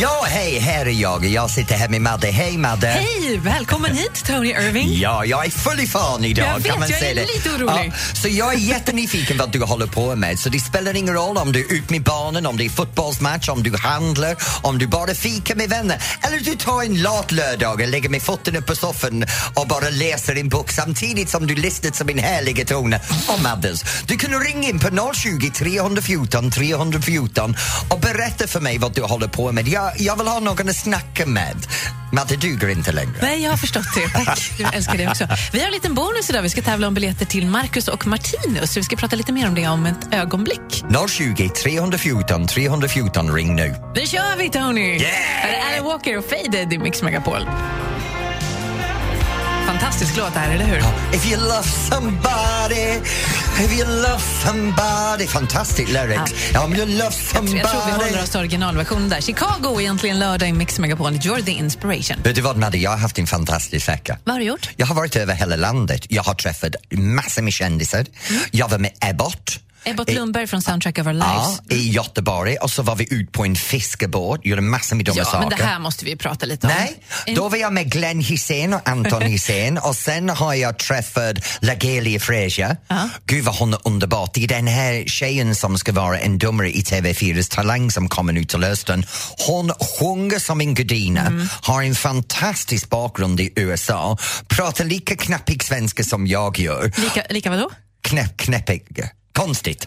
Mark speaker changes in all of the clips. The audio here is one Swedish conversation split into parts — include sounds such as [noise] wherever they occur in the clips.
Speaker 1: Ja, hej, här är jag. Jag sitter här med Madde. Hej, Madde!
Speaker 2: Hej! Välkommen hit, Tony Irving.
Speaker 1: Ja, jag är full i fan idag.
Speaker 2: Jag vet,
Speaker 1: kan man
Speaker 2: jag
Speaker 1: säga
Speaker 2: är
Speaker 1: det?
Speaker 2: lite orolig.
Speaker 1: Ja, så jag är jättenyfiken vad du håller på med. Så det spelar ingen roll om du är ut med barnen, om det är fotbollsmatch, om du handlar, om du bara fikar med vänner. Eller du tar en lat lördag och lägger med fötterna på soffan och bara läser en bok samtidigt som du lyssnar till min härliga ton om Maddes. Du kan ringa in på 020 314 314 och berätta för mig vad du håller på med. Jag, jag vill ha någon att snacka med. Madde duger inte längre.
Speaker 2: Nej, jag har förstått det. Tack. Jag älskar det också. Vi har en liten bonus idag. Vi ska tävla om biljetter till Marcus och Martinus. Så vi ska prata lite mer om det om ett ögonblick.
Speaker 1: 020 314 314 ring nu.
Speaker 2: Nu kör vi, Tony!
Speaker 1: Yeah!
Speaker 2: Här är Alan Walker och Faded i Mix Megapol. Fantastisk låt det här, eller hur?
Speaker 1: If you love somebody, if you love somebody Fantastisk lyrics. Ja. Om you love
Speaker 2: Jag tror,
Speaker 1: somebody
Speaker 2: jag tror vi håller oss till originalversionen där. Chicago är egentligen lördag i Mix Megapol. You're the inspiration.
Speaker 1: Vet du vad Madde, jag har haft en fantastisk vecka.
Speaker 2: Vad har du gjort?
Speaker 1: Jag har varit över hela landet. Jag har träffat massor med kändisar.
Speaker 2: Mm.
Speaker 1: Jag var med Ebbot.
Speaker 2: Ebbot
Speaker 1: Eh,
Speaker 2: Lundberg från Soundtrack of Our
Speaker 1: Ja,
Speaker 2: Lives.
Speaker 1: i Göteborg och så var vi ut på en fiskebåt, gjorde massor med dumma
Speaker 2: Ja,
Speaker 1: saker.
Speaker 2: men det här måste vi prata lite om. Eh,
Speaker 1: Nej,
Speaker 2: En-
Speaker 1: då var jag med Glenn Hysén och
Speaker 2: [laughs]
Speaker 1: Anton Hysén och sen har jag träffat Lagelia Freja. Gud vad hon är underbart. Det är den här tjejen som ska vara en domare i TV4s Talang som kommer nu till hösten. Hon sjunger som en gudinna,
Speaker 2: Mm.
Speaker 1: har en fantastisk bakgrund i USA, pratar lika knappig svenska som jag gör.
Speaker 2: Lika, lika vadå?
Speaker 1: Knäpp, knäppig. Konstigt.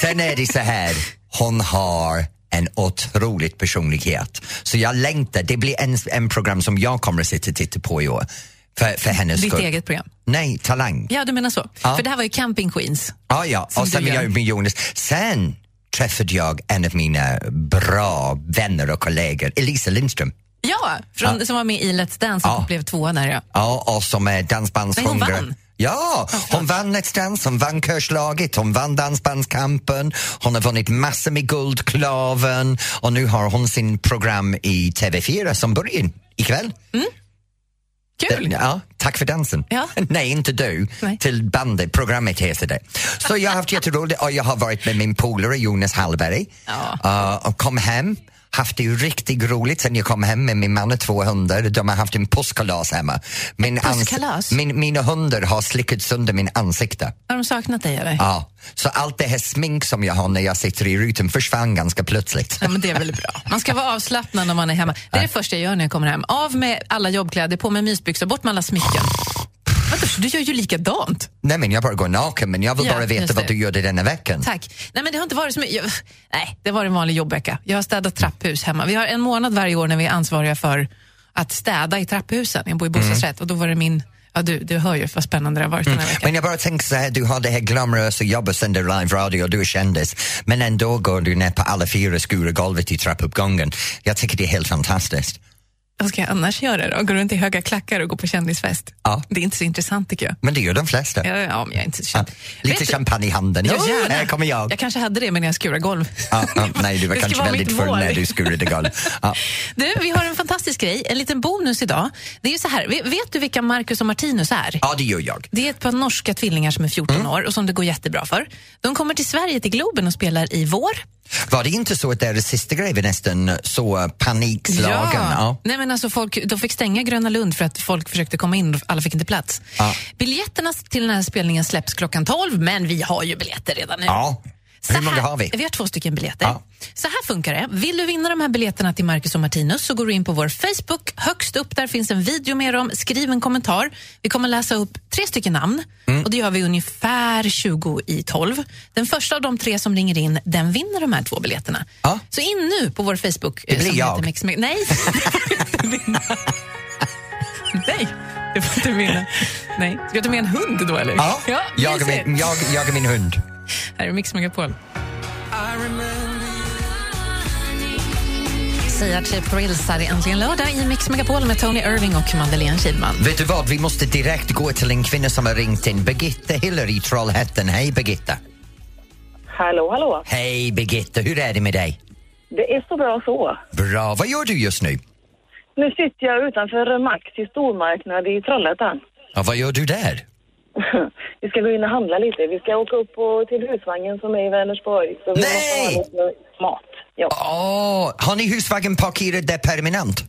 Speaker 1: Sen är det så här, hon har en otrolig personlighet. Så jag längtar, det blir en, en program som jag kommer att sitta och titta på i år. För, för hennes
Speaker 2: Ditt
Speaker 1: skull.
Speaker 2: eget program?
Speaker 1: Nej, Talang.
Speaker 2: Ja, du menar så. För det här var ju Camping Queens.
Speaker 1: Ah, ja,
Speaker 2: Som
Speaker 1: och
Speaker 2: du
Speaker 1: sen var
Speaker 2: gör.
Speaker 1: jag med Jonas. Sen träffade jag en av mina bra vänner och kollegor, Elisa Lindström.
Speaker 2: Ja, från, som var med i Let's Dance och
Speaker 1: Ja.
Speaker 2: blev tvåa där. Ja.
Speaker 1: Ja, och som är
Speaker 2: Men hon
Speaker 1: dansbandshungrig.
Speaker 2: vann.
Speaker 1: Ja, hon vann Let's Dance, hon vann Körslaget, hon vann Dansbandskampen, hon har vunnit massor med Guldklaven och nu har hon sin program i TV4 som börjar ikväll.
Speaker 2: Kul!
Speaker 1: Eh, Ja, tack för dansen.
Speaker 2: Ja.
Speaker 1: [laughs] Nej, inte du.
Speaker 2: Nej.
Speaker 1: Till bandet, programmet heter det. Så jag har haft jätteroligt och jag har varit med min polare Jonas Hallberg
Speaker 2: Ja.
Speaker 1: Eh, och kom hem. Haft det ju riktigt roligt sen jag kom hem med min man och två hundar. De har haft en påskkalas hemma. Min ans-
Speaker 2: påskkalas?
Speaker 1: min, mina hundar har slickat sönder min ansikte.
Speaker 2: Har de saknat dig eller?
Speaker 1: Ja. Så allt det här smink som jag har när jag sitter i rutan försvann ganska plötsligt.
Speaker 2: Ja, men det är väl bra. Man ska vara avslappnad när man är hemma. Det är det första jag gör när jag kommer hem. Av med alla jobbkläder, på med mysbyxor, bort med alla smycken. Vadå, du gör ju likadant.
Speaker 1: Nej men jag bara går naken men jag vill
Speaker 2: Ja,
Speaker 1: bara
Speaker 2: just
Speaker 1: veta vad
Speaker 2: det.
Speaker 1: du gjorde denna veckan.
Speaker 2: Tack. Nej, men det har inte varit så mycket. Jag, nej, det var en vanlig jobbvecka. Jag har städat trapphus hemma. Vi har en månad varje år när vi är ansvariga för att städa i trapphusen. Jag bor
Speaker 1: Mm.
Speaker 2: i bostadsrätt och då var det min... Ja, du, du hör ju vad spännande det har varit den här veckan.
Speaker 1: Mm. Men jag bara tänker så här, du har det här glamorösa jobbet, sänder live radio och du är kändis. Men ändå går du ner på alla fyra och skurar golvet i trappuppgången. Jag tycker det är helt fantastiskt.
Speaker 2: Vad ska jag annars göra då? Gå runt i höga klackar och gå på kändisfest?
Speaker 1: Ja.
Speaker 2: Det är inte så intressant tycker jag.
Speaker 1: Men det gör de flesta.
Speaker 2: Ja, ja, men jag är inte så
Speaker 1: Ja,
Speaker 2: känd.
Speaker 1: Lite
Speaker 2: Vet du-
Speaker 1: champagne i handen.
Speaker 2: Ja,
Speaker 1: Oh,
Speaker 2: gärna.
Speaker 1: här kommer jag.
Speaker 2: Jag kanske hade det, men jag skurar golv.
Speaker 1: Ja, ja, nej, du var
Speaker 2: Det ska
Speaker 1: kanske
Speaker 2: vara
Speaker 1: väldigt
Speaker 2: mitt
Speaker 1: full
Speaker 2: mål.
Speaker 1: när du skurade golv. Ja.
Speaker 2: [laughs] Du, vi har en fantastisk grej, en liten bonus idag. Det är ju så här, vet- vet du vilka Marcus och Martinus är?
Speaker 1: ja, Mm. det gör jag.
Speaker 2: Det är ett par norska tvillingar som är 14 år och som det går jättebra för. De kommer till Sverige, till Globen och spelar i vår.
Speaker 1: Var det inte så att deras sista grej var nästan så panikslagen? Ja.
Speaker 2: Nej, men alltså folk, de fick stänga Gröna Lund för att folk försökte komma in och alla fick inte plats.
Speaker 1: Ja.
Speaker 2: Biljetterna till den här spelningen släpps klockan 12, men vi har ju biljetter redan nu.
Speaker 1: Ja.
Speaker 2: Så
Speaker 1: Hur många
Speaker 2: här,
Speaker 1: har vi?
Speaker 2: Vi har två stycken biljetter.
Speaker 1: Ja.
Speaker 2: Så här funkar det. Vill du vinna de här biljetterna till Marcus och Martinus så går du in på vår Facebook. Högst upp där finns en video med dem. Skriv en kommentar. Vi kommer läsa upp tre stycken namn
Speaker 1: Mm.
Speaker 2: och det gör vi ungefär 20 i 12. Den första av de tre som ringer in, den vinner de här två biljetterna.
Speaker 1: Ja.
Speaker 2: Så in nu på vår Facebook. eh,
Speaker 1: Det blir
Speaker 2: som
Speaker 1: jag.
Speaker 2: heter Mix Meg- Nej, [laughs] du får inte vinna. Nej, du får inte vinna. Nej. Ska du ta med en hund då eller?
Speaker 1: Ja. jag,
Speaker 2: vi
Speaker 1: är
Speaker 2: ser.
Speaker 1: min, jag, jag är min hund.
Speaker 2: Här är Mix Megapol. säga till Prills här i Äntligen lördag i Mix Megapol med Tony Irving och Madeleine [laughs] Kihlman.
Speaker 1: Vet du vad, vi måste direkt gå till en kvinna som har ringt in. Birgitta Hiller i Trollhättan. Hej Birgitta!
Speaker 3: Hallå, hallå.
Speaker 1: Hej Birgitta, hur är det med dig?
Speaker 3: Det är så bra så.
Speaker 1: Bra, vad gör du just nu?
Speaker 3: Nu sitter jag utanför Maxi stormarknad i Trollhättan. [laughs]
Speaker 1: Ja, vad gör du där?
Speaker 3: Vi ska gå in och handla lite. Vi ska åka upp och till husvagnen som är i Vänersborg. Så vi måste
Speaker 1: Nej!
Speaker 3: ha lite mat. Jo.
Speaker 1: Åh, har ni husvagnen parkerad där permanent?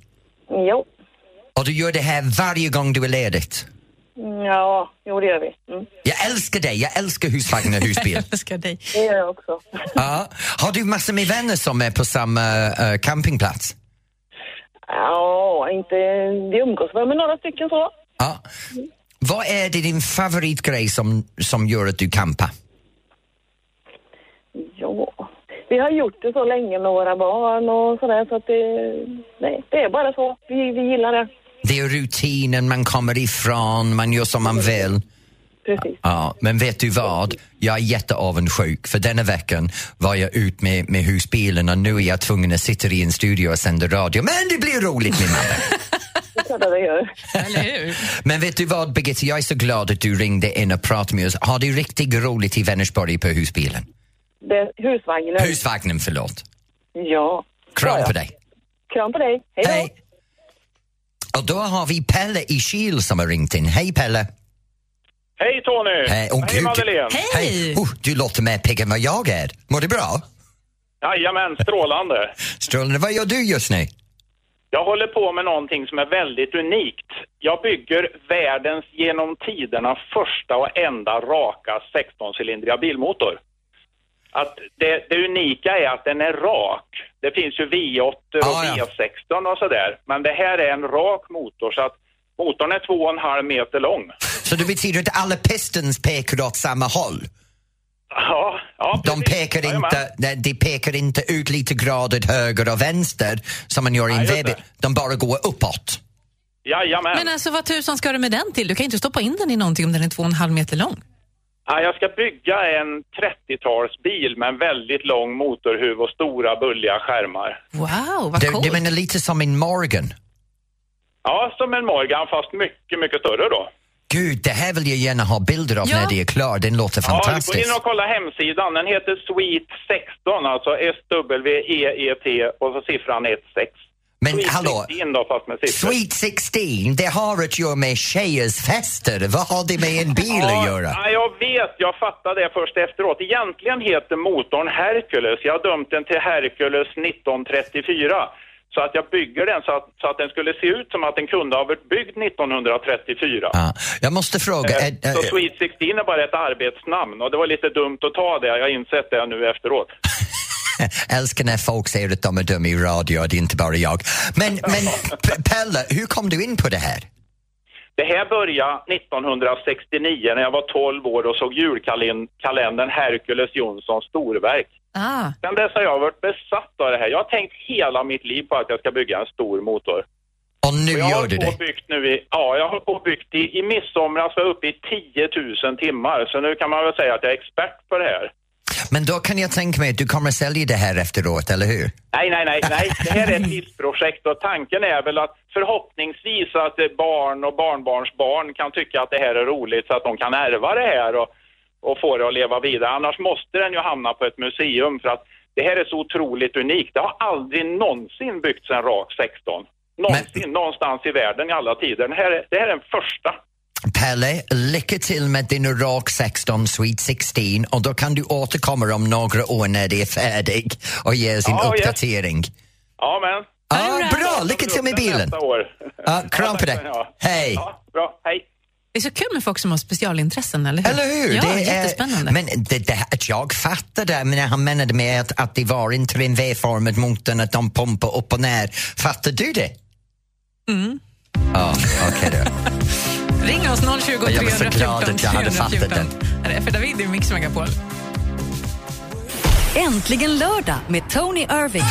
Speaker 3: jo.
Speaker 1: Och du gör det här varje gång du är ledigt?
Speaker 3: Mm, Ja, jo det gör vi. Mm.
Speaker 1: Jag älskar dig, jag älskar husvagn och
Speaker 2: [laughs]
Speaker 1: husbil.
Speaker 2: älskar dig.
Speaker 3: Det gör jag också. [laughs]
Speaker 1: ja. Har du massor med vänner som är på samma eh, campingplats?
Speaker 3: Ja, inte... Vi umgås väl med några stycken så.
Speaker 1: Ja. Vad är det din favoritgrej som, som gör att du campar?
Speaker 3: Ja. Vi har gjort det så länge med våra barn och sådär så att det... Nej, det är bara så. Vi, vi gillar det.
Speaker 1: Det är rutinen, man kommer ifrån, man gör som man vill.
Speaker 3: Precis.
Speaker 1: Ja, men vet du vad? Jag är jätteavundsjuk för denna veckan var jag ut med, med husbilen och nu är jag tvungen att sitta i en studio och sända radio. Men det blir roligt min man!
Speaker 3: Det är klart att det gör.
Speaker 2: Eller hur?
Speaker 1: Men vet du vad Birgitta, jag är så glad att du ringde in och pratade med oss. Har du riktigt roligt i Vänersborg på husbilen?
Speaker 3: Det, husvagnen.
Speaker 1: Husvagnen, förlåt.
Speaker 3: Ja. Ja,
Speaker 1: Kram
Speaker 3: ja.
Speaker 1: på dig.
Speaker 3: Kram på dig. Hej då.
Speaker 1: Hej! Och då har vi Pelle i Kil som har ringt in. Hej Pelle!
Speaker 4: Hej Tony!
Speaker 1: Hej, åh,
Speaker 4: Hej
Speaker 1: gud.
Speaker 4: Madeleine!
Speaker 2: Hej!
Speaker 1: Oh, du låter mer pigg än vad jag är. Mår du bra?
Speaker 4: Jajamän, strålande!
Speaker 1: Strålande. Vad gör du just nu?
Speaker 4: Jag håller på med någonting som är väldigt unikt. Jag bygger världens genom tiderna första och enda raka 16-cylindriga bilmotor. Att det, det unika är att den är rak. Det finns ju V8 och
Speaker 1: Ah, ja.
Speaker 4: V16 och sådär. Men det här är en rak motor så att motorn är två och en halv meter lång. [laughs]
Speaker 1: Så det betyder att alla pistons pekar åt samma håll?
Speaker 4: Ja, ja
Speaker 1: De
Speaker 4: precis.
Speaker 1: pekar,
Speaker 4: Jajamän.
Speaker 1: inte, nej, de pekar inte ut lite grader höger och vänster som man gör i en
Speaker 4: Nej, just
Speaker 1: VB.
Speaker 4: det.
Speaker 1: De bara går uppåt.
Speaker 4: Jajamän!
Speaker 2: Men alltså, vad tusan ska du med den till? Du kan ju inte stoppa in den i någonting om den är två och en halv meter lång.
Speaker 4: Ja, jag ska bygga en 30-talsbil med en väldigt lång motorhuv och stora bulliga skärmar.
Speaker 2: Wow, vad
Speaker 1: Du,
Speaker 2: coolt.
Speaker 1: du menar lite som en Morgan?
Speaker 4: Ja, som en Morgan fast mycket, mycket större då.
Speaker 1: Gud, det här vill jag gärna ha bilder av
Speaker 2: Ja.
Speaker 1: när det är klart. Den låter fantastisk.
Speaker 4: Ja, gå in och kolla hemsidan. Den heter Sweet16, alltså S-W-E-E-T E och så siffran 16.
Speaker 1: Men
Speaker 4: Sweet
Speaker 1: hallå.
Speaker 4: 16 då fast med siffror.
Speaker 1: Sweet 16, det har att göra med tjejers fester. Vad har det med en bil att göra?
Speaker 4: Ja, jag vet, jag fattade det först efteråt. Egentligen heter motorn Hercules. Jag har dömt den till Hercules 1934. Så att jag bygger den så att, så att den skulle se ut som att den kunde ha varit byggd 1934.
Speaker 1: Ja. Jag måste fråga,
Speaker 4: Eh,
Speaker 1: är, är,
Speaker 4: Så Sweet 16 är bara ett arbetsnamn och det var lite dumt att ta det. Jag har insett det nu efteråt.
Speaker 1: älskar när folk säger att de är dumma i radio, det är inte bara jag. Men, men P- Pelle, hur kom du in på det här?
Speaker 4: Det här började 1969 när jag var 12 år och såg julkalendern Hercules Jonssons storverk.
Speaker 2: Ah,
Speaker 4: Sen dess har jag varit besatt av det här. Jag har tänkt hela mitt liv på att jag ska bygga en stor motor.
Speaker 1: Och nu
Speaker 4: Och jag
Speaker 1: gör du
Speaker 4: på
Speaker 1: det.
Speaker 4: och byggt nu i, ja, jag har hållit på och byggt i, i midsomras var jag uppe i 10 000 timmar. Så nu kan man väl säga att jag är expert på det här.
Speaker 1: Men då kan jag tänka mig att du kommer att sälja det här efteråt, eller hur?
Speaker 4: Nej, nej, nej, nej. Det här är
Speaker 1: [laughs]
Speaker 4: ett livsprojekt och tanken är väl att förhoppningsvis att eh, barn och barnbarnsbarn kan tycka att det här är roligt så att de kan ärva det här och, och få det att leva vidare. Annars måste den ju hamna på ett museum för att det här är så otroligt unikt. Det har aldrig någonsin byggts en rak 16. Någonsin, någonstans i världen i alla tider. Det här, är- det här är den första.
Speaker 1: Pelle, lycka till med din Rak 16 Sweet 16 och då kan du återkomma om några år när det är färdig och ge oss en
Speaker 4: Ja, yes.
Speaker 1: uppdatering.
Speaker 4: Ja, men.
Speaker 1: Ja, bra, lycka till med bilen!
Speaker 4: Nästa år.
Speaker 1: Ja, kram på
Speaker 4: tack
Speaker 1: dig.
Speaker 4: ska ni ha.
Speaker 1: Hej.
Speaker 4: Ja, bra. Hej.
Speaker 2: det är så kul med folk som har specialintressen, eller hur?
Speaker 1: Eller hur?
Speaker 2: Ja,
Speaker 1: Det är-
Speaker 2: jättespännande.
Speaker 1: Men det, det, här- att jag fattar det, men han menade med att, att det var inte en V-formad motorn, att de pumpar upp och ner. Fattar du det? Mm. Ja, okej då.
Speaker 2: Ring oss 020 314
Speaker 1: Jag var så glad att jag hade fattat
Speaker 2: 314. Det är för David i Mix Megapol.
Speaker 5: Äntligen lördag med Tony Irving.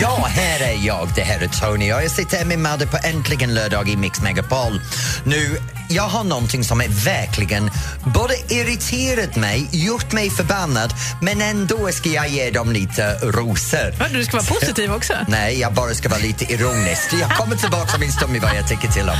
Speaker 1: Ja, här är jag. Det här är Tony och jag sitter här med Madde på Äntligen lördag i Mix Megapol. Nu, jag har någonting som är verkligen både irriterat mig, gjort mig förbannad men ändå ska jag ge dem lite rosor.
Speaker 2: Ja, Du ska vara positiv också.
Speaker 1: Nej, jag bara ska vara lite ironisk. Jag kommer tillbaka om en stund med vad jag tycker till om.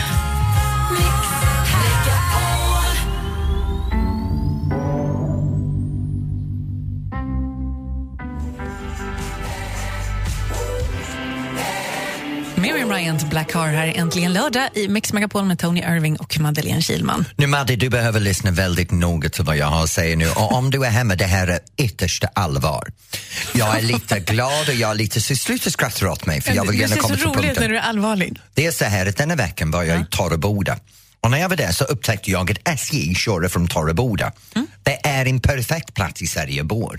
Speaker 2: Miriam Bryant, Black Car här äntligen lördag i Mix Megapol med Tony Irving och Madeleine Kilman.
Speaker 1: Nu Madde, du behöver lyssna väldigt noga till vad jag har att säga nu. Och om du är hemma, det här är yttersta allvar. Jag är lite glad och jag är lite... Så sluta skratta åt mig för jag vill
Speaker 2: det
Speaker 1: gärna
Speaker 2: ser så
Speaker 1: komma till
Speaker 2: roligt
Speaker 1: punkten.
Speaker 2: när du är allvarlig.
Speaker 1: Det är så här att denna veckan var jag i Torreboda. Och när jag var där så upptäckte jag att SJ körde från Torreboda. Det är en perfekt plats i Sverige att bo.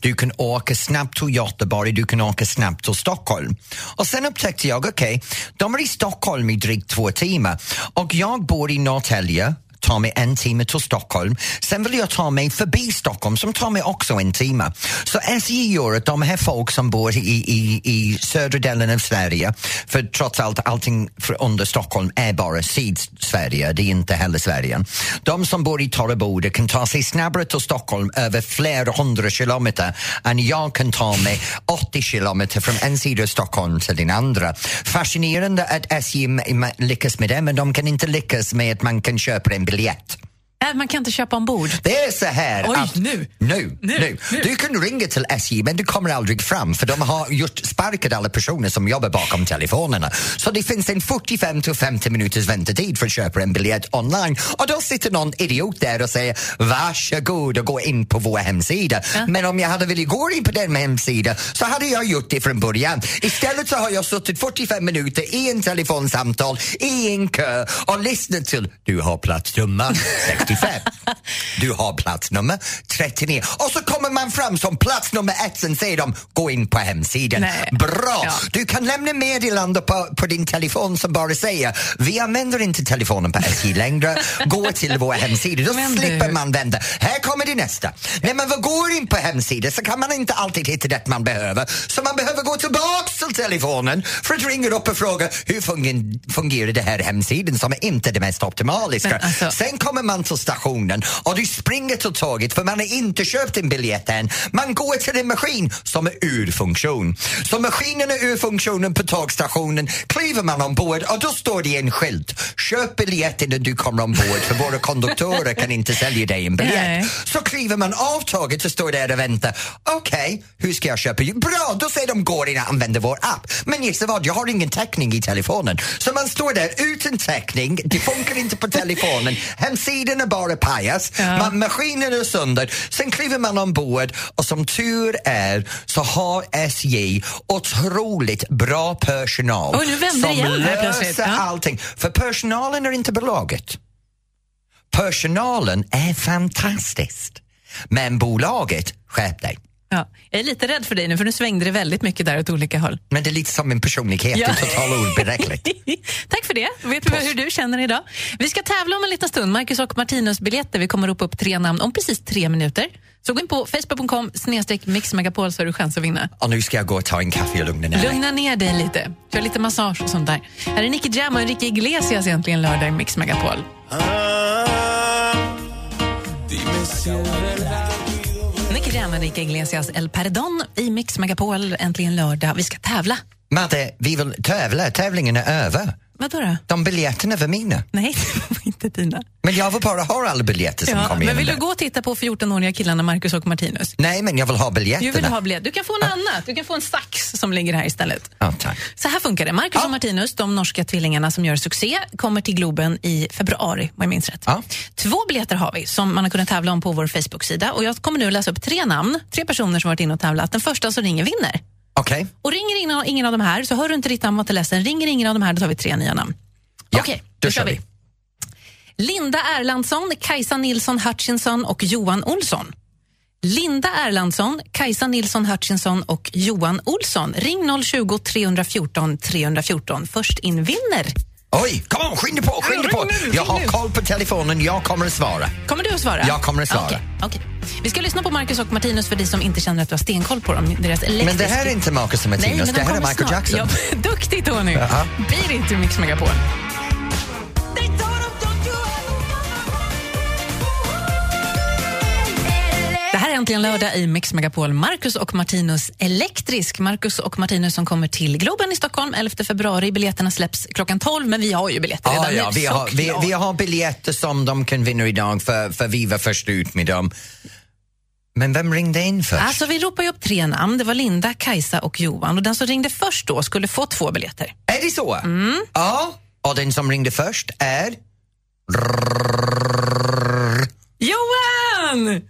Speaker 1: Du kan åka snabbt till Göteborg, du kan åka snabbt till Stockholm. Och sen upptäckte jag, okej, de är i Stockholm i drygt två timmar och jag bor i Norrtälje tar mig en timme till Stockholm. Sen vill jag ta mig förbi Stockholm som tar mig också en timme. Så SJ gör att de här folk som bor i, i, i södra delen av Sverige, för trots allt allting för under Stockholm är bara Sydsverige, det är inte heller Sverige. De som bor i Torreboda kan ta sig snabbare till Stockholm över flera hundra kilometer än jag kan ta mig 80 kilometer från en sida av Stockholm till den andra. Fascinerande att SJ m- m- lyckas med det, men de kan inte lyckas med att man kan köpa en biljett.
Speaker 2: Nej, Äh, man kan inte köpa ombord.
Speaker 1: Det är så här
Speaker 2: Oj,
Speaker 1: att...
Speaker 2: nu.
Speaker 1: Nu,
Speaker 2: Nu,
Speaker 1: nu,
Speaker 2: nu.
Speaker 1: Du kan ringa till SJ men du kommer aldrig fram för de har just sparkat alla personer som jobbar bakom telefonerna. Så det finns en 45 till 50 minuters väntetid för att köpa en biljett online och då sitter någon idiot där och säger varsågod och gå in på vår hemsida. Men om jag hade velat gå in på den hemsidan så hade jag gjort det från början. Istället så har jag suttit 45 minuter i en telefonsamtal i en kö och lyssnat till du har plats nummer
Speaker 2: [laughs]
Speaker 1: 65. Du har plats nummer 39. Och så kommer man fram som plats nummer ett, sen säger de gå in på hemsidan.
Speaker 2: Nej.
Speaker 1: Bra!
Speaker 2: Ja.
Speaker 1: Du kan lämna meddelande på, på din telefon som bara säger vi använder inte telefonen på SJ längre, gå till vår hemsida. Då
Speaker 2: Men du-
Speaker 1: slipper man vända. Här kommer det nästa. När man går in på hemsidan så kan man inte alltid hitta det man behöver så man behöver gå tillbaks till telefonen för att ringa upp och fråga hur funger- fungerar det här hemsidan som är inte det mest optimaliska.
Speaker 2: Men alltså-
Speaker 1: Sen kommer man till stationen och du springer till tåget för man har inte köpt en biljett än. Man går till en maskin som är ur funktion. Så maskinen är ur funktionen på tågstationen, kliver man ombord och då står det en skylt. Köp biljett innan du kommer ombord för våra konduktörer kan inte sälja dig en biljett.
Speaker 2: Nej.
Speaker 1: Så kliver man av tåget och står där och väntar. Okej, hur ska jag köpa? Bra, då säger de går in och använder vår app. Men gissa vad, jag har ingen täckning i telefonen. Så man står där utan täckning, det funkar inte på
Speaker 2: [laughs]
Speaker 1: telefonen, hemsidan är bara pajas, man, maskinen är sönder. Sen kliver man ombord och som tur är så har SJ otroligt bra personal
Speaker 2: Oj, nu vänder det
Speaker 1: som
Speaker 2: igen här plötsligt.
Speaker 1: löser
Speaker 2: Ja.
Speaker 1: allting. För personalen är inte bolaget. Personalen är fantastiskt. Men bolaget, skärp dig.
Speaker 2: Ja. Jag är lite rädd för dig nu, för nu svängde det väldigt mycket där åt olika håll.
Speaker 1: Men det är lite som min personlighet,
Speaker 2: Ja.
Speaker 1: det är totalt oberäkligt.
Speaker 2: [laughs] Tack för det. Då vet vi hur du känner idag. Vi ska tävla om en liten stund. Marcus och Martinus biljetter. Vi kommer ropa upp tre namn om precis tre minuter. Så gå in på facebook.com snedstreck mixmegapol så har du chans att vinna.
Speaker 1: Och nu ska jag gå och ta en kaffe och lugna ner mig.
Speaker 2: Lugna ner dig lite. Kör lite massage och sånt där. Här är Nicky Jam och Enrique Iglesias egentligen lördag i Mix Megapol. Nicky Jam och Enrique Iglesias El Perdon i Mix Megapol äntligen lördag. Vi ska tävla.
Speaker 1: Madde, vi vill tävla, tävlingen är över.
Speaker 2: Vadå då?
Speaker 1: De biljetterna var mina.
Speaker 2: Nej, [laughs] det var inte dina.
Speaker 1: Men jag vill bara ha alla biljetter som
Speaker 2: Ja,
Speaker 1: kom
Speaker 2: men
Speaker 1: igenom
Speaker 2: vill du
Speaker 1: där.
Speaker 2: gå och titta på 14-åriga killarna Marcus och Martinus?
Speaker 1: Nej, men jag vill ha biljetterna.
Speaker 2: Du vill ha biljett. Du kan få en annat. Du kan få en sax som ligger här istället.
Speaker 1: Ja, tack.
Speaker 2: Så här funkar det. Marcus och Martinus, de norska tvillingarna som gör succé, kommer till Globen i februari om jag minns rätt.
Speaker 1: Ja.
Speaker 2: Två biljetter har vi som man har kunnat tävla om på vår Facebook-sida. Och Jag kommer nu läsa upp tre namn, tre personer som varit inne och tävlat. Den första som ringer vinner.
Speaker 1: Okej,
Speaker 2: Och ringer ingen, ingen av de här, så hör du inte ditt namn, var inte ledsen. Ringer ingen av de här, då tar vi tre nya namn.
Speaker 1: Ja,
Speaker 2: Okej,
Speaker 1: då
Speaker 2: då kör
Speaker 1: kör
Speaker 2: vi. Linda Erlandsson, Kajsa Nilsson Hutchinson och Johan Olsson. Linda Erlandsson, Kajsa Nilsson Hutchinson och Johan Olsson. Ring 020 314 314. Först in vinner.
Speaker 1: oj, kom on, skynda på, skynda på. Jag har koll på telefonen, jag kommer att svara.
Speaker 2: Kommer du att svara?
Speaker 1: Jag kommer att svara.
Speaker 2: Okej, okej. Vi ska lyssna på Marcus och Martinus för dig som inte känner att du har stenkoll på dem. Deras
Speaker 1: Men det här är inte Marcus och
Speaker 2: Nej, men
Speaker 1: Martinus,
Speaker 2: de
Speaker 1: det här är
Speaker 2: kommer
Speaker 1: Michael
Speaker 2: snart.
Speaker 1: Jackson.
Speaker 2: Ja, [laughs] duktig Tony!
Speaker 1: Jaha.
Speaker 2: Blir inte Mix Megapol.
Speaker 6: They thought of don't you ever
Speaker 2: Äntligen lördag i Mix Megapol. Marcus och Martinus Elektrisk. Marcus och Martinus som kommer till Globen i Stockholm 11 februari. Biljetterna släpps klockan 12, men vi har ju biljetter redan
Speaker 1: Ja, ja,
Speaker 2: nu
Speaker 1: vi, har, vi,
Speaker 2: såklart.
Speaker 1: vi har biljetter som de kan vinna idag för, för vi var först ut med dem. Men vem ringde in först?
Speaker 2: Alltså, vi ropar ju upp tre namn. Det var Linda, Kajsa och Johan. Och den som ringde först då skulle få två biljetter.
Speaker 1: Är det så?
Speaker 2: Mm.
Speaker 1: Ja, och den som ringde först är...
Speaker 2: Johan!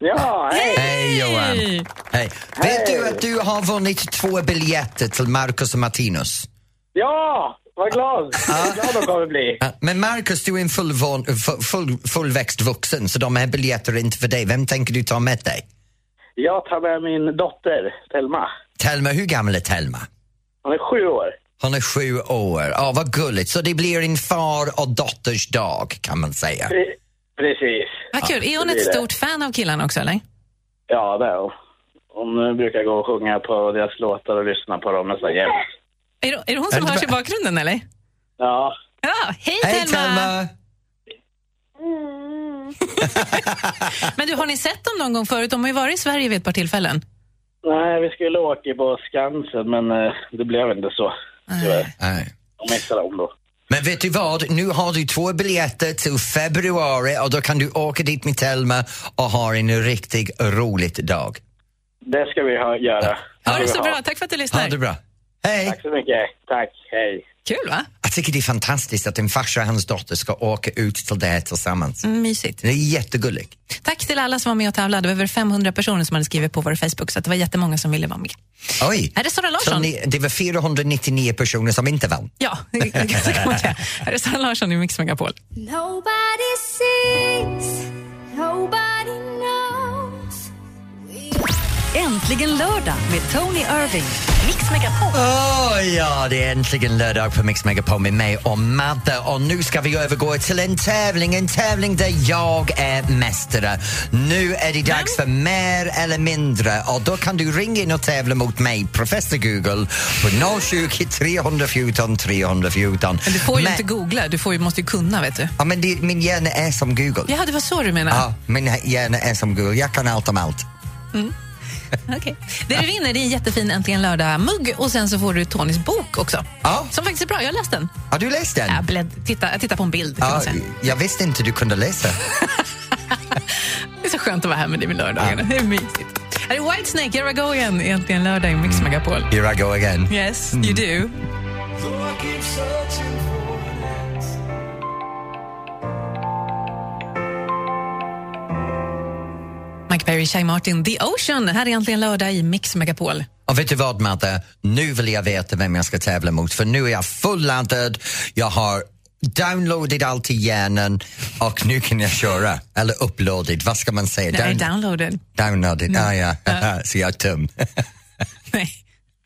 Speaker 4: Ja, hej!
Speaker 1: Hej Johan!
Speaker 2: Hej!
Speaker 1: Hej. Vet du att du har vunnit två biljetter till Marcus och Martinus?
Speaker 4: Ja, vad glad! Vad glad de kommer bli.
Speaker 1: Ja, Men Marcus, du är en fullvan, full, full, fullväxt vuxen så de här biljetterna är inte för dig. Vem tänker du ta med dig?
Speaker 4: Jag tar med min dotter, Telma.
Speaker 1: Telma, hur gammal är Telma?
Speaker 4: Hon är sju år.
Speaker 1: Hon är sju år. Ja, vad gulligt. Så det blir en far och dotters dag kan man säga.
Speaker 4: Pre- Precis.
Speaker 2: Vad kul. Är hon
Speaker 4: det
Speaker 2: ett
Speaker 4: är det.
Speaker 2: stort fan av killarna också? eller?
Speaker 4: Ja, det är hon. Hon eh, brukar gå och sjunga på deras låtar och lyssna på dem nästan jämt.
Speaker 2: Är det, är det hon
Speaker 1: Är
Speaker 2: som
Speaker 1: det
Speaker 2: hörs i
Speaker 1: bara-
Speaker 2: bakgrunden? eller?
Speaker 4: Ja,
Speaker 2: Ja, hej,
Speaker 1: Hej
Speaker 2: Telma!
Speaker 1: Telma!
Speaker 2: Men du, har ni sett dem någon gång förut? De har ju varit i Sverige vid ett par tillfällen.
Speaker 4: nej, vi skulle åka på Skansen men eh, det blev inte så. Tyvärr.
Speaker 1: Nej.
Speaker 4: De missade om då.
Speaker 1: Men vet du vad? Nu har du två biljetter till februari och då kan du åka dit med Telma och ha en riktigt rolig dag.
Speaker 4: Det ska vi ha, göra.
Speaker 2: Ha det
Speaker 4: Ska
Speaker 2: så
Speaker 4: vi
Speaker 2: bra. Tack för att du
Speaker 1: Ha
Speaker 2: lyssnar.
Speaker 1: det bra. Hej!
Speaker 4: Tack så mycket. Tack, hej.
Speaker 2: Kul, va?
Speaker 1: Jag tycker det är fantastiskt att en farsa och hans dotter ska åka ut till det här tillsammans.
Speaker 2: Mm, mysigt.
Speaker 1: Det är jättegulligt.
Speaker 2: Tack till alla som var med och tävlade. Det var över 500 personer som hade skrivit på vår Facebook, så att det var jättemånga som ville vara med.
Speaker 1: Oj!
Speaker 2: Här är Sara
Speaker 1: Så
Speaker 2: Larsson.
Speaker 1: ni, det var 499 personer som inte vann.
Speaker 2: Ja, [laughs] så kan man säga. Här är Sara Larsson i Mix Megapol.
Speaker 6: Nobody sees, nobody knows.
Speaker 5: Äntligen lördag med Tony Irving. Mix Megapol.
Speaker 1: Åh ja, det är äntligen lördag på Mix Megapol med mig och Madde och nu ska vi övergå till en tävling, en tävling där jag är mästare. Nu är det dags för mer eller mindre och då kan du ringa in och tävla mot mig,
Speaker 2: Mm.
Speaker 1: professor Google, på 020 314 314.
Speaker 2: Men du får ju
Speaker 1: Men-
Speaker 2: inte googla, du får ju, måste ju kunna, vet du.
Speaker 1: Ja, men det, min hjärna är som Google.
Speaker 2: Ja, det var så du menade?
Speaker 1: Ja, min hjärna är som Google, jag kan allt om allt.
Speaker 2: Okej. Det du vinner det är en jättefin Äntligen lördag-mugg och sen så får du Tonys bok också.
Speaker 1: Ja.
Speaker 2: Som faktiskt är bra, jag har läst den.
Speaker 1: Har du läst den?
Speaker 2: Jag, blädd, titta, jag tittar på en bild. Kan man
Speaker 1: Ja,
Speaker 2: säga.
Speaker 1: jag visste inte du kunde läsa.
Speaker 2: Det är så skönt att vara här med dig med lördagarna. Det är mysigt. Här är Whitesnake, Here I Go Again, i Äntligen lördag i
Speaker 1: Mm.
Speaker 2: Mix Megapol.
Speaker 1: Here I go again.
Speaker 2: Yes,
Speaker 1: Mm.
Speaker 2: you do. Mike Perry, Shai Martin, The Ocean. Här är äntligen lördag i Mix Megapol.
Speaker 1: Och vet du vad Madde? Nu vill jag veta vem jag ska tävla mot för nu är jag fulladdad, jag har downloadat allt i hjärnan och nu kan jag köra. Eller uploadat, vad ska man säga?
Speaker 2: Nej, Mm.
Speaker 1: Down-
Speaker 2: downloaded.
Speaker 1: downloadat, ah, ja. [laughs] så jag är tum.
Speaker 2: Nej.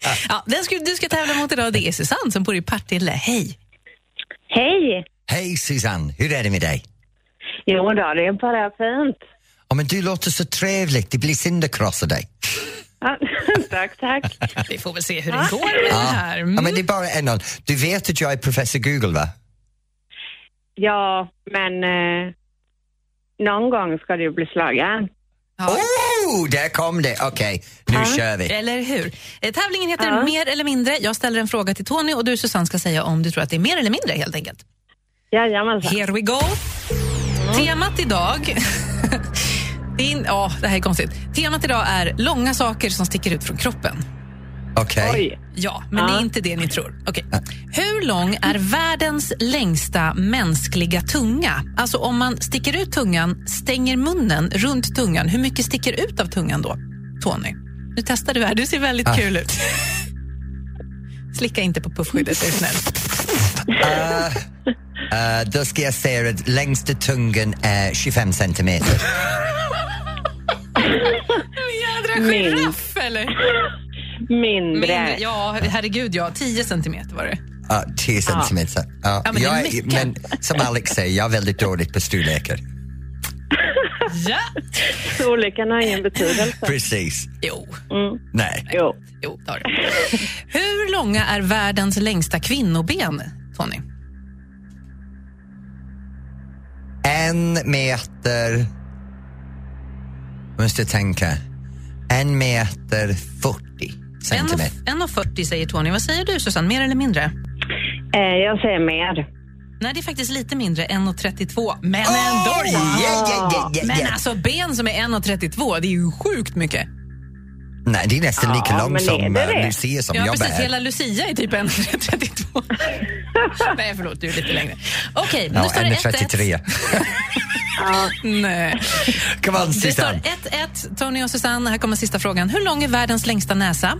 Speaker 1: Ah.
Speaker 2: Ja, den ska, du ska tävla mot idag det är Susanne som bor i Partille. Hej!
Speaker 7: Hej!
Speaker 1: Hej Susanne, hur är det med dig?
Speaker 7: Jo då, det är bara fint.
Speaker 1: Ja, men du låter så trevlig, det blir synd att krossa dig.
Speaker 7: Ja, [laughs] tack, tack.
Speaker 2: Vi får väl se hur det går med det här. Mm.
Speaker 1: Ah. Ja, men det är bara en och- Du vet att jag är professor Google va?
Speaker 7: Ja, men eh, någon gång ska du bli slagen.
Speaker 2: Ja.
Speaker 1: Oh, där kom det! Okej, nu kör vi.
Speaker 2: Eller hur? Eh, Tävlingen heter
Speaker 1: Ah.
Speaker 7: Ja.
Speaker 2: Mer eller mindre. Jag ställer en fråga till Tony och du Susanne ska säga om du tror att det är mer eller mindre helt enkelt.
Speaker 7: Jajamensan.
Speaker 2: Here we go. Temat idag... [laughs] det, är, ja, det här är konstigt. Temat idag är långa saker som sticker ut från kroppen.
Speaker 1: Okej.
Speaker 7: Oj.
Speaker 2: Ja, men det är
Speaker 7: Ja.
Speaker 2: inte det ni tror. Okej. Hur lång är världens längsta mänskliga tunga? Alltså om man sticker ut tungan, stänger munnen runt tungan, hur mycket sticker ut av tungan då? Tony, nu testar du här. Du ser väldigt kul ut. [laughs] Slicka inte på puffskyddet, är du snäll.
Speaker 1: Eh, då ska jag säga att längsta tungan är 25 centimeter.
Speaker 2: Jädra giraff, eller?
Speaker 7: Mindre.
Speaker 2: Mindre, ja, herregud ja. 10 centimeter var det.
Speaker 1: Ja, 10 centimeter. Ja,
Speaker 2: Ja, men det är
Speaker 1: jag
Speaker 2: mycket.
Speaker 1: men som Alex säger, jag är väldigt dålig på storlekar.
Speaker 2: Ja.
Speaker 7: Storleken har ingen
Speaker 2: [laughs]
Speaker 7: betydelse.
Speaker 1: Precis.
Speaker 2: Jo,
Speaker 1: Nej.
Speaker 7: Jo.
Speaker 2: jo det har det. Hur långa är världens längsta kvinnoben, Tony?
Speaker 1: En meter Måste tänka. En meter 40 centimeter.
Speaker 2: 1,40 säger Tony. Vad säger du, Susanne? Mer eller mindre?
Speaker 7: Eh, jag säger mer.
Speaker 2: Nej, det är faktiskt lite mindre. 1,32. Men
Speaker 1: Oj,
Speaker 2: ändå!
Speaker 1: yeah, yeah, yeah, yeah,
Speaker 2: Men
Speaker 1: yeah.
Speaker 2: alltså, ben som är 1,32, det är ju sjukt mycket.
Speaker 1: Nej, det är nästan lika
Speaker 7: Ja, men
Speaker 1: långt
Speaker 7: är
Speaker 1: som
Speaker 7: det
Speaker 1: eh,
Speaker 7: det?
Speaker 1: Lucia som
Speaker 2: ja,
Speaker 1: jag
Speaker 2: precis.
Speaker 1: bär.
Speaker 2: Hela Lucia är
Speaker 1: [laughs]
Speaker 2: typ 1,32. Nej, förlåt. Du är lite längre. Okej, nu
Speaker 1: Ja,
Speaker 2: står
Speaker 1: en
Speaker 2: det
Speaker 1: är
Speaker 2: 1-1. [laughs]
Speaker 1: 33.
Speaker 2: Nej.
Speaker 1: Kom on,
Speaker 2: Det står
Speaker 1: Susanne.
Speaker 2: 1-1. Tony och Susanne, här kommer sista frågan. Hur lång är världens längsta näsa?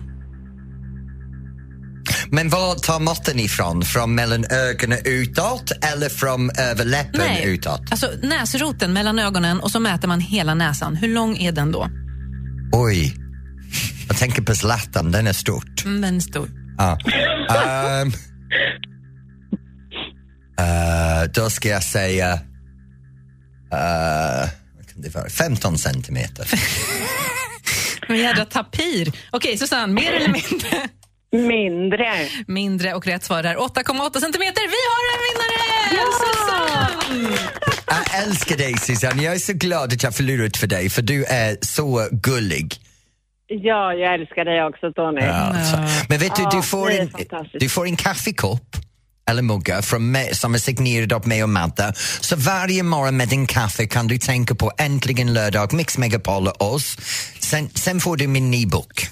Speaker 1: Men var tar måtten ifrån? Från mellan ögonen utåt eller från över läppen utåt?
Speaker 2: Alltså näsroten mellan ögonen och så mäter man hela näsan. Hur lång är den då? Mm,
Speaker 1: Oj, jag tänker på Zlatan, den är
Speaker 2: [laughs]
Speaker 1: stort.
Speaker 2: Mm, Den är stor.
Speaker 1: Ja. Ehm. Eh, då ska jag säga... eh, vad kan det vara? 15 centimeter.
Speaker 2: Men jädra tapir. Okej, Susanne, mer eller mindre? [laughs]
Speaker 7: Mindre.
Speaker 2: Mindre och rätt svar är 8,8 centimeter. Vi har en vinnare! Susanne!
Speaker 1: Jag älskar dig Susanne, jag är så glad att jag förlorat för dig för du är så gullig.
Speaker 7: Ja, jag älskar dig också Tony.
Speaker 1: Alltså. Men vet du, du
Speaker 7: Ja,
Speaker 1: får,
Speaker 7: det är
Speaker 1: en,
Speaker 7: fantastiskt.
Speaker 1: du får en kaffekopp eller mugga från mig, som är signerad av mig och Madde. Så varje morgon med din kaffe kan du tänka på Äntligen lördag, Mix Megapol och oss. Sen, sen får du min nybok.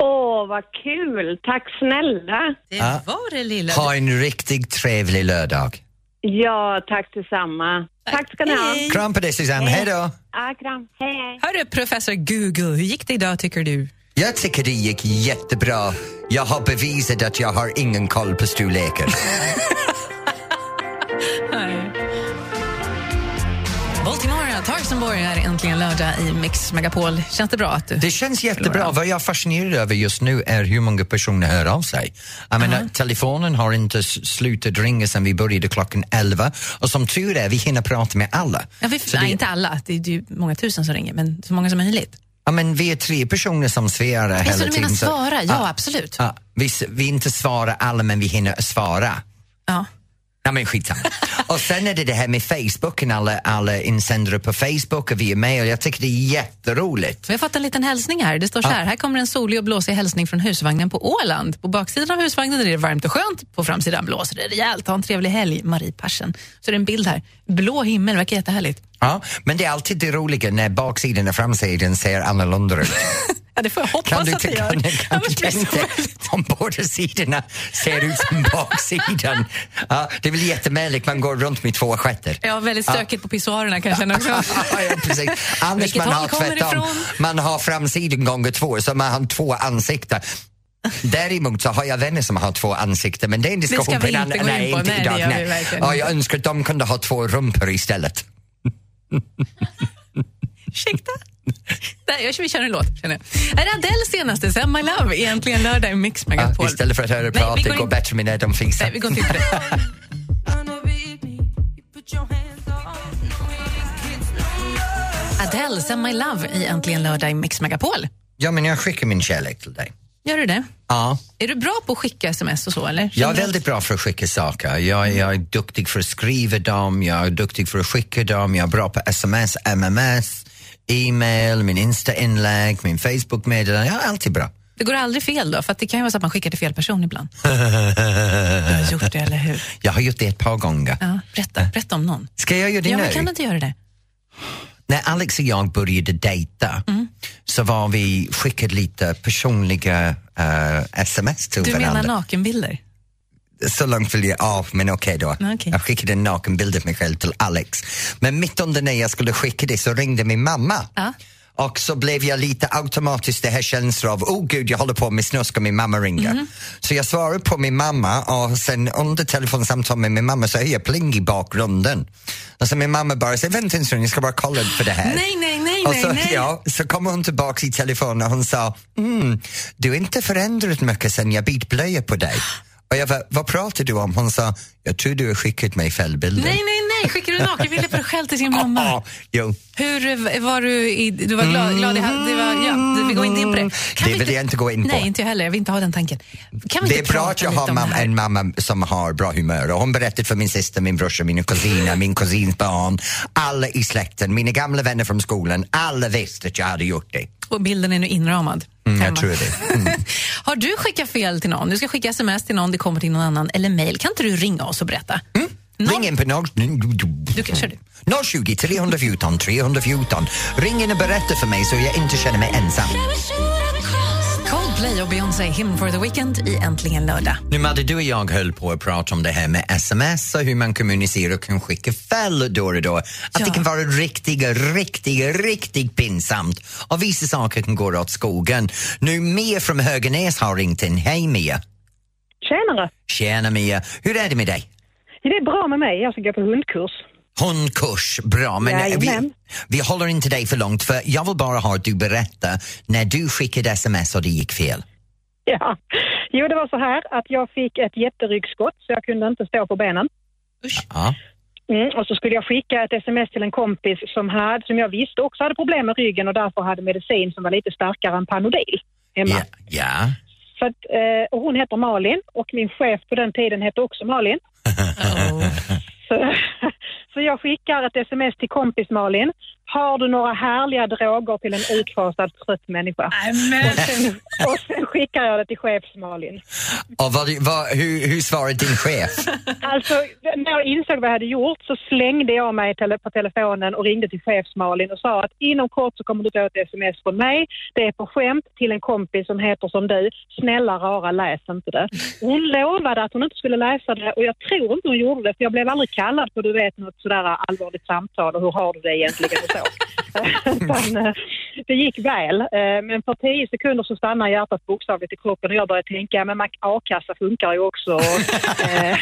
Speaker 7: Åh, vad kul. Tack snälla.
Speaker 2: Det var det lilla.
Speaker 1: Ha en riktigt trevlig lördag.
Speaker 7: Ja, tack detsamma. Tack ska ni ha.
Speaker 1: Kram på dig Susanne, hej då!
Speaker 7: Ja, kram. Hej, hej.
Speaker 2: Hörru, professor Google, hur gick det idag tycker du?
Speaker 1: Jag tycker det gick jättebra. Jag har bevisat att jag har ingen koll på storlekar.
Speaker 2: Baltimore, Tarsenborg är äntligen lördag i Mix Megapol. Känns det bra att du...
Speaker 1: Det känns jättebra. Vad jag är fascinerad över just nu är hur många personer hör av sig. Jag menar, telefonen har inte s- slutat ringa sedan vi började klockan 11 och som tur är, vi hinner prata med alla.
Speaker 2: Ja, vi,
Speaker 1: Så
Speaker 2: nej,
Speaker 1: det,
Speaker 2: inte alla. Det är ju många tusen som ringer, men så många som möjligt.
Speaker 1: ja, men vi är tre personer som svarar hela
Speaker 2: Alltså, du menar
Speaker 1: tiden. så-
Speaker 2: svara? Ja, absolut.
Speaker 1: Ja, vi, s- vi inte svarar alla, men vi hinner svara.
Speaker 2: Ja.
Speaker 1: Nej men
Speaker 2: [laughs]
Speaker 1: skitsamma. och sen är det det här med Facebooken, alla, alla insändare på Facebook och via mail. Jag tycker det är jätteroligt.
Speaker 2: Vi har fått en liten hälsning här. Det står så här, här kommer en solig och blåsig hälsning från husvagnen på Åland. På baksidan av husvagnen är det varmt och skönt, på framsidan blåser det rejält. Ha en trevlig helg, Marie Persson. Så är det en bild här. Blå himmel, verkar jättehärligt.
Speaker 1: Ja, men det är alltid det roliga när baksidan och framsidan ser annorlunda ut.
Speaker 2: Ja, det får jag
Speaker 1: Kan
Speaker 2: hoppas
Speaker 1: du,
Speaker 2: att det
Speaker 1: kan,
Speaker 2: gör.
Speaker 1: kan
Speaker 2: Annars
Speaker 1: du
Speaker 2: blir det så
Speaker 1: tänka
Speaker 2: väldigt-
Speaker 1: om båda sidorna ser ut
Speaker 2: [laughs]
Speaker 1: som baksidan? Ja, det är väl jättemärkligt, man går runt med två stjärtar.
Speaker 2: Ja, väldigt stökigt på pissoarerna kanske. också. [laughs]
Speaker 1: Ja, precis. Annars
Speaker 2: Vilket
Speaker 1: man
Speaker 2: håll
Speaker 1: har
Speaker 2: kommer det
Speaker 1: tvärtom.
Speaker 2: ifrån?
Speaker 1: Man har framsidan gånger två, så man har två ansikten. Däremot så har jag vänner som har två ansikten, men det är en diskussion
Speaker 2: ska vi
Speaker 1: på en
Speaker 2: inte
Speaker 1: annan-
Speaker 2: gå in på. Nej, det gör vi verkligen
Speaker 1: Ja, jag önskar att de kunde ha två rumpor istället.
Speaker 2: Ursäkta? [laughs] Nej, jag kör, vi kör en låt, känner jag. Här är Adele senaste, Send My Love, egentligen lördag i Mix
Speaker 1: Ja,
Speaker 2: Megapol.
Speaker 1: istället för att höra
Speaker 2: Nej,
Speaker 1: prat,
Speaker 2: vi
Speaker 1: det
Speaker 2: går
Speaker 1: går
Speaker 2: in-
Speaker 1: bättre med när de
Speaker 2: Nej,
Speaker 1: fixar.
Speaker 2: vi går inte in på det. Adele, Send My Love i Äntligen lördag i Mix Megapol.
Speaker 1: Ja, men jag skickar min kärlek till dig.
Speaker 2: Gör du det?
Speaker 1: Ja.
Speaker 2: Är du bra på att skicka sms och så? Eller?
Speaker 1: Jag är
Speaker 2: Känner du-
Speaker 1: väldigt bra för att skicka saker. Jag, jag är duktig för att skriva dem, jag är duktig för att skicka dem, jag är bra på sms, mms, e-mail, min Insta-inlägg, min Facebook-meddelande. Jag är alltid bra.
Speaker 2: Det går aldrig fel då? För att det kan ju vara så att man skickar till fel
Speaker 1: [laughs]
Speaker 2: person ibland. du har gjort det, eller hur?
Speaker 1: Jag har gjort det ett par gånger.
Speaker 2: Ja, berätta, berätta om någon.
Speaker 1: Ska jag göra det
Speaker 2: Ja,
Speaker 1: nu?
Speaker 2: men kan du inte göra det?
Speaker 1: När Alex och jag började dejta
Speaker 2: Mm.
Speaker 1: så var vi skickade lite personliga eh, sms till
Speaker 2: Du
Speaker 1: varandra.
Speaker 2: menar nakenbilder?
Speaker 1: så långt vill jag av, men okej då.
Speaker 2: Mm, okej.
Speaker 1: Jag skickade en nakenbild av mig själv till Alex. Men mitt under när jag skulle skicka det så ringde min mamma.
Speaker 2: Ja.
Speaker 1: Och så blev jag lite automatiskt det här känslan av, oh gud jag håller på med snusk och min mamma ringer.
Speaker 2: Mhm.
Speaker 1: Så jag svarade på min mamma och sen under telefonsamtal med min mamma så hör jag pling i bakgrunden. Och så min mamma bara, säger, vänta en stund jag ska bara kolla för det här.
Speaker 2: Nej, nej, nej,
Speaker 1: Och så,
Speaker 2: nej, nej.
Speaker 1: Ja, så kom hon tillbaka i telefonen och hon sa mm, du har inte förändrat mycket sen jag bytte blöja på dig. Och jag var, vad pratar du om? Hon sa, Jag tror du har skickat mig fällbilder.
Speaker 2: Nej, nej, nej. Skickar du nakenbilder på dig själv till sin
Speaker 1: Ja,
Speaker 2: mamma?
Speaker 1: ah, jo.
Speaker 2: Hur eh, var du? I, du var glad, glad i, ha- det var, ja, Vi går inte in på det. Kan
Speaker 1: Det
Speaker 2: vi
Speaker 1: vill jag inte gå in på.
Speaker 2: Nej, inte jag heller. Jag vill inte ha den tanken. Kan vi
Speaker 1: Det är
Speaker 2: inte
Speaker 1: bra
Speaker 2: prata
Speaker 1: att jag
Speaker 2: lite
Speaker 1: har
Speaker 2: om det
Speaker 1: mam-
Speaker 2: här?
Speaker 1: en mamma som har bra humör. Och hon berättade för min syster, min brorsa, mina kusiner, min kusins barn, alla i släkten, mina gamla vänner från skolan. Alla visste att jag hade gjort det.
Speaker 2: Och bilden är nu inramad.
Speaker 1: Mm, jag
Speaker 2: hemma.
Speaker 1: tror det. Mm.
Speaker 2: [laughs] har du skickat fel till någon? Du ska skicka sms till någon, det kommer till någon annan, eller mejl. Kan inte du ringa oss och berätta?
Speaker 1: Mm. Ring in på noll-
Speaker 2: Du kan, kör du.
Speaker 1: 020 314 314. Ring in och berätta för mig så jag inte känner mig ensam.
Speaker 2: Coldplay och Beyoncé, Him for the Weekend i Äntligen lördag.
Speaker 1: Nu Madde, du och jag höll på att prata om det här med sms och hur man kommunicerar och kan skicka fel då och då. Att det
Speaker 2: Ja.
Speaker 1: kan vara riktigt, riktigt, riktigt pinsamt. Och vissa saker kan gå åt skogen. Nu Mia från Höganäs har ringt in. Hej Mia!
Speaker 8: Tjenare!
Speaker 1: Tjena Mia! Hur är det med dig?
Speaker 8: Det är bra med mig, jag ska gå på hundkurs. [laughs]
Speaker 1: Hundkurs, bra. Men eh,
Speaker 8: Jajamän.
Speaker 1: vi, vi håller inte dig för långt för jag vill bara ha att du berättar när du skickade sms och det gick fel.
Speaker 8: Ja. Jo, det var så här att jag fick ett jätteryggskott så jag kunde inte stå på benen.
Speaker 1: Ja.
Speaker 8: Mm, och så skulle jag skicka ett sms till en kompis som, hade, som jag visste också hade problem med ryggen och därför hade medicin som var lite starkare än Panodil hemma.
Speaker 1: Ja. ja.
Speaker 8: Så att, eh, och hon heter Malin och min chef på den tiden hette också Malin. Så, [laughs] så jag skickar ett sms till kompis Malin. Har du några härliga droger till en utfasad trött människa? Och sen, och sen skickar jag det till chefs Malin.
Speaker 1: Och vad, vad, hur, hur svarade din
Speaker 8: [laughs]
Speaker 1: chef?
Speaker 8: Alltså, när jag insåg vad jag hade gjort så slängde jag mig tele- på telefonen och ringde till chefs-Malin och sa att inom kort så kommer du få ett sms från mig. Det är på skämt till en kompis som heter som du. Snälla rara, läs inte det. Och Hon lovade att hon inte skulle läsa det och jag tror inte hon gjorde det för jag blev aldrig kallad på du vet något sådär allvarligt samtal och hur har du det egentligen och så. Utan, eh, det gick väl, eh, men för tio sekunder så stannar hjärtat bokstavligt i kroppen och jag började tänka, men man- a-kassa funkar ju också. Eh,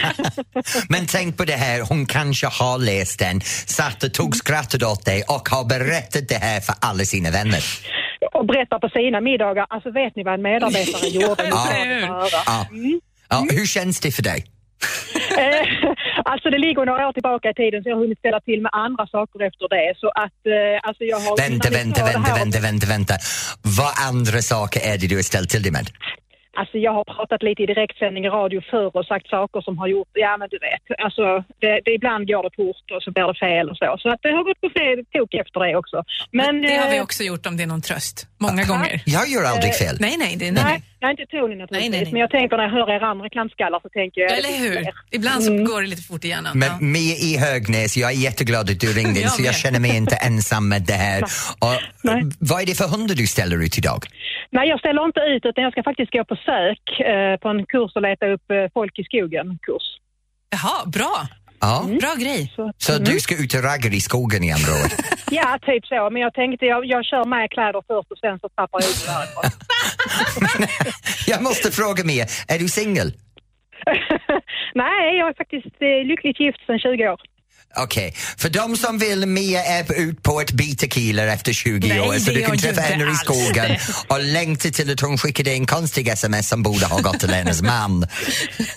Speaker 1: Men tänk på det här, hon kanske har läst den, satt och tog skrattet åt dig och har berättat det här för alla sina vänner.
Speaker 8: och berättar på sina middagar. Alltså vet ni vad en
Speaker 2: [laughs]
Speaker 8: medarbetare gjorde?
Speaker 1: Ja,
Speaker 8: Ni får
Speaker 1: eller
Speaker 8: det
Speaker 1: hur?
Speaker 8: höra.
Speaker 1: Ja. Ja,
Speaker 8: Mm.
Speaker 1: hur känns det för dig?
Speaker 8: Eh, alltså det ligger några år tillbaka i tiden så jag har hunnit ställa till med andra saker efter det. Så att eh, alltså jag har...
Speaker 1: Vänta,
Speaker 8: innan ni
Speaker 1: vänta,
Speaker 8: sa det
Speaker 1: vänta,
Speaker 8: här-
Speaker 1: vänta, vänta, vänta. Vad andra saker är det du har ställt till dig med?
Speaker 8: Alltså jag har pratat lite i direktsändning i radio förr och sagt saker som har gjort, ja men du vet, alltså det, det ibland går det fort och så blir det fel och så. Så att det har gått på fel tok efter det också. Men,
Speaker 2: Det har vi
Speaker 8: eh,
Speaker 2: också gjort om det är någon tröst. Många gånger.
Speaker 1: Jag gör aldrig
Speaker 8: Eh,
Speaker 1: fel.
Speaker 2: Nej, nej, det är nej.
Speaker 8: Nej, nej, inte Tony naturligtvis,
Speaker 2: Nej, nej, nej.
Speaker 8: men jag tänker när jag hör er andra kantskallar så tänker jag...
Speaker 2: Ja, Eller hur? Mm. Ibland så går det lite fort i hjärnan.
Speaker 1: Men
Speaker 2: Ja.
Speaker 1: Mia i Högnäs, jag är jätteglad
Speaker 2: [laughs]
Speaker 1: att du ringde in
Speaker 2: Jag
Speaker 1: så jag
Speaker 2: med.
Speaker 1: känner mig inte ensam med det
Speaker 2: [laughs]
Speaker 1: här. Och, vad är det för hundar du ställer ut idag?
Speaker 8: Nej, jag ställer inte ut utan jag ska faktiskt gå på sök eh, på en kurs och leta upp eh, folk i skogen-kurs.
Speaker 2: Jaha, bra.
Speaker 1: Ja.
Speaker 2: Bra grej.
Speaker 1: Så
Speaker 2: Mm.
Speaker 1: du ska ut och ragga i skogen i andra ord?
Speaker 8: Ja, typ så. Men jag tänkte jag, jag kör med kläder först och sen så tappar jag ut [laughs] det därifrån.
Speaker 1: [laughs] Jag måste fråga Mia, är du singel?
Speaker 8: Nej, jag är faktiskt eh, lyckligt gift sedan 20 år.
Speaker 1: Okej, för de som vill Mia är ut på ett bit tequila efter 20
Speaker 2: Nej,
Speaker 1: år så
Speaker 2: det
Speaker 1: du
Speaker 2: gör
Speaker 1: kan träffa
Speaker 2: inte
Speaker 1: henne i
Speaker 2: alls
Speaker 1: skogen
Speaker 2: det.
Speaker 1: och längta till att hon skickade en konstig sms som borde ha gått till hennes man.
Speaker 8: Det,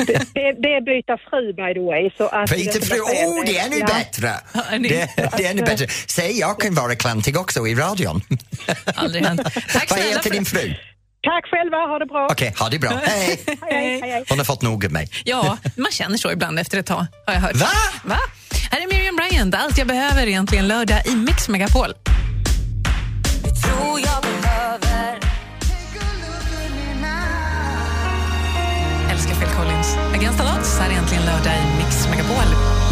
Speaker 8: det, det är byta fru by the way. Så att
Speaker 1: Peter fru, oh det är ännu bättre!
Speaker 2: Ja, ni-
Speaker 1: Det, det är ännu bättre. Säg, jag kan vara klantig också i radion.
Speaker 2: Aldrig [laughs] hänt. Tack
Speaker 1: Vad
Speaker 2: snälla
Speaker 1: heter
Speaker 2: för
Speaker 1: din fru?
Speaker 8: Tack själva, ha det bra.
Speaker 1: Okej, ha det bra. Hej!
Speaker 8: Hej, hej, hej.
Speaker 1: Hon har fått nog av mig.
Speaker 2: Ja, man känner så ibland efter ett tag, har jag hört.
Speaker 1: Va?
Speaker 2: Va? Här är Miriam Bryant, Allt jag behöver är egentligen lördag i Mix Megapol.
Speaker 6: Tror jag behöver
Speaker 2: Älskar Phil Collins. Against the Odds, här är egentligen lördag i Mix Megapol.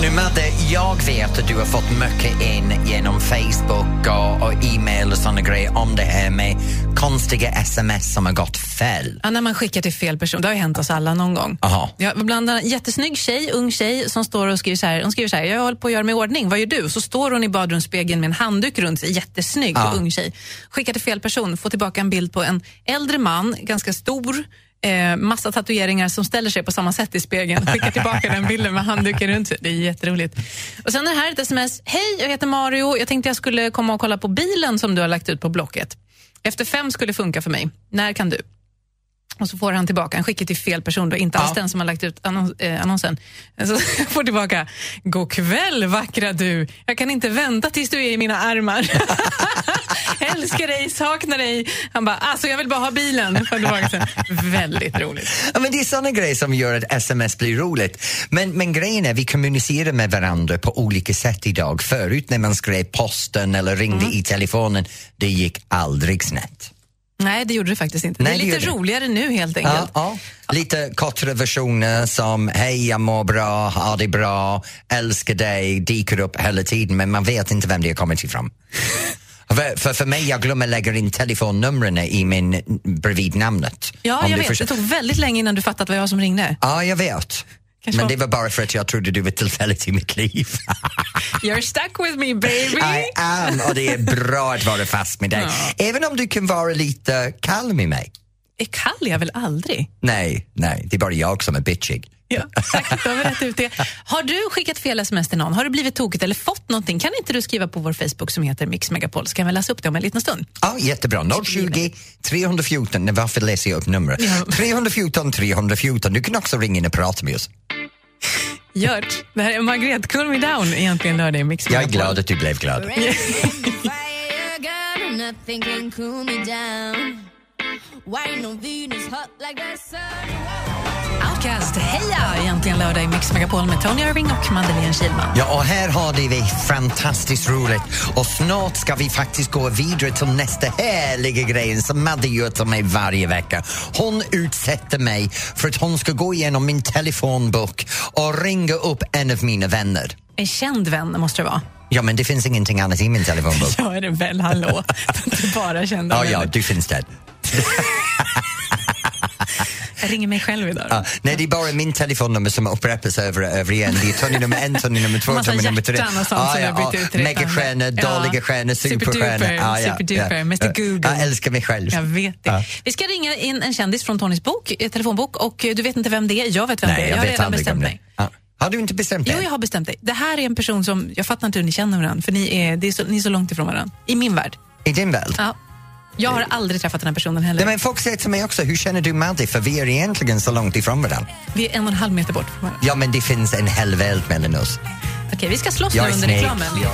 Speaker 1: Nu Madde, jag vet att du har fått mycket in genom Facebook och, och e-mail och såna grejer om det här med konstiga sms som har gått fel.
Speaker 2: Ja, när man skickar till fel person, det har ju hänt oss alla någon gång.
Speaker 1: Aha.
Speaker 2: Ja, bland annat en jättesnygg tjej, ung tjej som står och skriver så här, hon skriver så här, jag håller på att göra mig i ordning, vad gör du? Så står hon i badrumsspegeln med en handduk runt sig, jättesnygg
Speaker 1: Ja.
Speaker 2: ung tjej. Skickar till fel person, får tillbaka en bild på en äldre man, ganska stor, eh, massa tatueringar som ställer sig på samma sätt i spegeln. Skickar tillbaka den bilden med handduken runt sig. Det är jätteroligt. Och sen är det här ett sms, hej jag heter Mario, jag tänkte jag skulle komma och kolla på bilen som du har lagt ut på Blocket. Efter fem skulle funka för mig, när kan du? Och så får han tillbaka, han skickar till fel person då, inte alls den som har lagt ut annons, eh, annonsen. Så [laughs] jag får tillbaka, god kväll vackra du, jag kan inte vänta tills du är i mina armar. [laughs] Älskar dig, saknar dig. Han bara, alltså jag vill bara ha bilen. Får jag tillbaka sen. Väldigt roligt.
Speaker 1: Ja, men det är såna grejer som gör att sms blir roligt. Men, men grejen är vi kommunicerar med varandra på olika sätt idag. Förut när man skrev posten eller ringde i telefonen, det gick aldrig snett.
Speaker 2: Nej, det gjorde det faktiskt inte.
Speaker 1: Nej,
Speaker 2: det
Speaker 1: det
Speaker 2: är lite
Speaker 1: gjorde det.
Speaker 2: roligare nu helt enkelt.
Speaker 1: Ja, ja. Lite kortare versioner som hej, jag mår bra, ha det bra, älskar dig, dyker upp hela tiden men man vet inte vem det har kommit
Speaker 2: [laughs]
Speaker 1: ifrån. För, för, för mig, jag glömmer lägga in telefonnumren i min bredvid namnet.
Speaker 2: Ja,
Speaker 1: Om
Speaker 2: jag
Speaker 1: du
Speaker 2: vet.
Speaker 1: förstår-
Speaker 2: Det tog väldigt länge innan du fattat vad jag som ringde.
Speaker 1: Ja, jag vet.
Speaker 2: Kanske
Speaker 1: Men
Speaker 2: var-
Speaker 1: det var bara för att jag trodde du var tillfälligt i mitt
Speaker 2: [laughs]
Speaker 1: liv.
Speaker 2: You're stuck with me baby.
Speaker 1: I am, och det är bra att vara fast med dig. Även om du kan vara lite kall med mig.
Speaker 2: Är kall är jag väl aldrig?
Speaker 1: Nej, nej, det är bara jag som är bitchig.
Speaker 2: Ja, tack. Då har vi rätt ut det. Har du skickat fel sms till någon? Har det blivit tokigt eller fått någonting? Kan inte du skriva på vår Facebook som heter Mix Megapol så kan vi läsa upp det om en liten stund.
Speaker 1: Ja, jättebra. 020 314, nej, varför läser jag upp numret? 314 314, du kan också ringa in och prata med oss.
Speaker 2: Gört, det här är Margret, Cool Me Down egentligen lördag i Mix
Speaker 1: Jag är
Speaker 2: Megapol.
Speaker 1: glad att du blev glad. [laughs]
Speaker 6: Nothing can cool me down. Why ain't no Venus hot like the sun?
Speaker 2: Outcast, heja! Egentligen lördag i Mix Megapol med Tony Irving och Madeleine Kilman.
Speaker 1: Ja, och här har det vi fantastiskt roligt och snart ska vi faktiskt gå vidare till nästa härliga grej som Madde gör till mig varje vecka. Hon utsätter mig för att hon ska gå igenom min telefonbok och ringa upp en av mina vänner.
Speaker 2: En känd vän måste det vara.
Speaker 1: Ja, men det finns ingenting annat i min
Speaker 2: [laughs]
Speaker 1: telefonbok.
Speaker 2: Ja, är det
Speaker 1: [laughs]
Speaker 2: väl, hallå? Inte bara kända
Speaker 1: Ja, ja,
Speaker 2: vänner.
Speaker 1: du finns där.
Speaker 2: Jag ringer mig själv idag.
Speaker 1: Ja, nej, det är bara min telefonnummer som upprepas över och över igen. Det är Tony nummer en, Tony nummer två,
Speaker 2: [laughs] Massa
Speaker 1: Tony nummer tre.
Speaker 2: hjärtan och sånt som jag bytt ut redan.
Speaker 1: Megastjärnor,
Speaker 2: Ja.
Speaker 1: dåliga stjärnor,
Speaker 2: Superduper,
Speaker 1: superstjärnor. Ja, ja,
Speaker 2: superduper,
Speaker 1: ja.
Speaker 2: Mr. Google.
Speaker 1: Jag älskar mig själv.
Speaker 2: Jag vet det.
Speaker 1: Ja.
Speaker 2: Vi ska ringa in en kändis från Tonys bok, eh, telefonbok och eh, du vet inte vem det är. Jag vet vem det
Speaker 1: Nej,
Speaker 2: är.
Speaker 1: jag
Speaker 2: har
Speaker 1: vet
Speaker 2: redan
Speaker 1: aldrig om
Speaker 2: bestämt
Speaker 1: det.
Speaker 2: mig.
Speaker 1: Ja. Har du inte bestämt
Speaker 2: Jo,
Speaker 1: dig?
Speaker 2: jag har bestämt dig. Det här är en person som, jag fattar inte hur ni känner varandra, för ni är, det är så, ni är så långt ifrån varandra. I min värld.
Speaker 1: I din värld?
Speaker 2: Ja. Jag har aldrig träffat den här personen
Speaker 1: Nej,
Speaker 2: heller.
Speaker 1: men folk säger till mig också, hur känner du Madde? För vi är egentligen så långt ifrån varandra.
Speaker 2: Vi är en och en halv meter bort från varandra.
Speaker 1: Ja, men det finns en hel värld mellan oss.
Speaker 2: Okej, vi ska slåss nu
Speaker 1: Jag är
Speaker 2: under
Speaker 1: snake.
Speaker 2: reklamen.
Speaker 1: Jag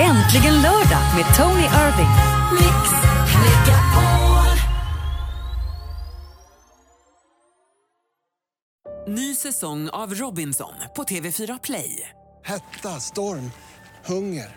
Speaker 1: är-
Speaker 5: Äntligen lördag med Tony Irving. Mix
Speaker 9: Ny säsong av Robinson på TV4 Play.
Speaker 10: Hetta, storm, hunger.